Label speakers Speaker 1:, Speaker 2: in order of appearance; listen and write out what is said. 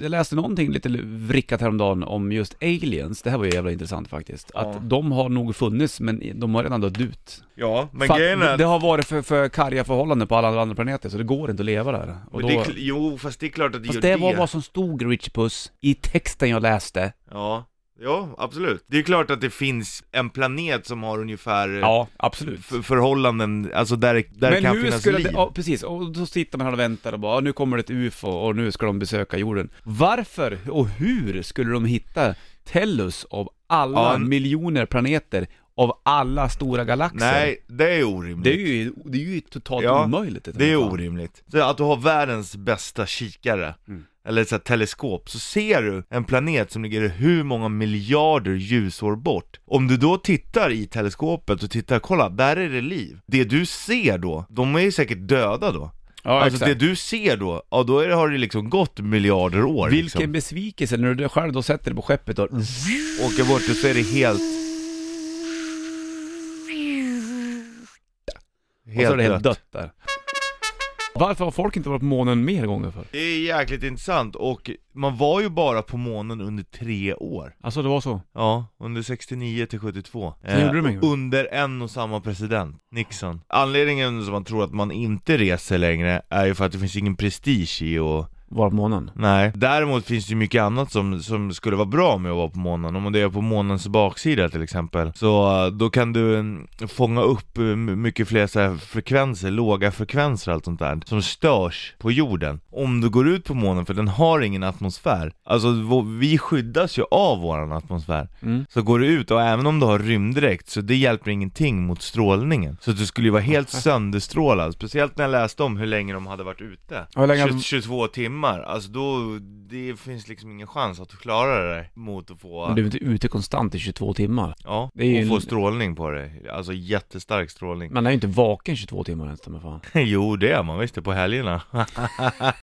Speaker 1: jag läste någonting lite vrickat häromdagen om just aliens, det här var ju jävla intressant faktiskt. Att
Speaker 2: Ja.
Speaker 1: de har nog funnits men de har redan dött ut.
Speaker 2: Ja, men
Speaker 1: För att
Speaker 2: grejen är...
Speaker 1: det har varit för, för karga förhållanden på alla andra planeter så det går inte att leva där. Och
Speaker 2: men
Speaker 1: då,
Speaker 2: det är, kl- jo, fast det är klart att det gör
Speaker 1: fast
Speaker 2: det.
Speaker 1: det var vad som stod Rich Puss i texten jag läste.
Speaker 2: Ja, ja, absolut. Det är klart att det finns en planet som har ungefär eh,
Speaker 1: Ja, absolut.
Speaker 2: f- förhållanden, alltså där, där
Speaker 1: men
Speaker 2: kan
Speaker 1: hur
Speaker 2: finnas
Speaker 1: skulle
Speaker 2: liv.
Speaker 1: Det, ja, precis, och då sitter man här och väntar och bara, "Ja, nu kommer det ett UFO och nu ska de besöka jorden. Varför och hur skulle de hitta Tellus av alla
Speaker 2: Ja, n-
Speaker 1: miljoner planeter av alla stora galaxer?
Speaker 2: Nej, det är orimligt.
Speaker 1: Det är ju, det är ju totalt
Speaker 2: Ja,
Speaker 1: omöjligt. i
Speaker 2: Det är
Speaker 1: alla fall.
Speaker 2: orimligt. Så att du har världens bästa kikare,
Speaker 1: Mm.
Speaker 2: eller så här teleskop, så ser du en planet som ligger hur många miljarder ljusår bort. Om du då tittar i teleskopet och tittar, kolla, där är det liv. Det du ser då, de är ju säkert döda då.
Speaker 1: Ja,
Speaker 2: alltså
Speaker 1: exakt.
Speaker 2: det du ser då, ja då är, det- har det liksom gått miljarder år
Speaker 1: Vilken
Speaker 2: liksom.
Speaker 1: besvikelse när du själv då sätter dig på skeppet och...
Speaker 2: Åker bort och så är det helt...
Speaker 1: och så är det helt dött där. Varför har folk inte varit på månen mer gånger för?
Speaker 2: Det är jäkligt intressant och man var ju bara på månen under tre år.
Speaker 1: Alltså det var så?
Speaker 2: Ja, under 69 till 72.
Speaker 1: Sen gjorde de inget.
Speaker 2: under en och samma president, Nixon. Anledningen som man tror att man inte reser längre är ju för att det finns ingen prestige i och
Speaker 1: Var på månen?
Speaker 2: Nej. Däremot finns det ju mycket annat som, som skulle vara bra med att vara på månen. Om du är på månens baksida till exempel. Så eh, då kan du eh, fånga upp eh, m- mycket fler så här frekvenser, låga frekvenser och allt sånt där. Som störs på jorden. Om du går ut på månen, för den har ingen atmosfär. Alltså vå- vi skyddas ju av våran atmosfär.
Speaker 1: Mm.
Speaker 2: Så går du ut och även om du har rymddräkt så det hjälper ingenting mot strålningen. Så du skulle ju vara helt sönderstrålad. Speciellt när jag läste om hur länge de hade varit ute.
Speaker 1: Ja, hur länge hade-
Speaker 2: 20, 22 timmar, alltså då, det finns liksom ingen chans att du klarar dig mot att få,
Speaker 1: Du är inte ute konstant i 22 timmar.
Speaker 2: ja,
Speaker 1: det är ju
Speaker 2: och få
Speaker 1: en-
Speaker 2: strålning på dig. Alltså jättestark strålning.
Speaker 1: Man är ju inte vaken 22 timmar ens, ta mig fan.
Speaker 2: jo det är man visst det, på helgerna.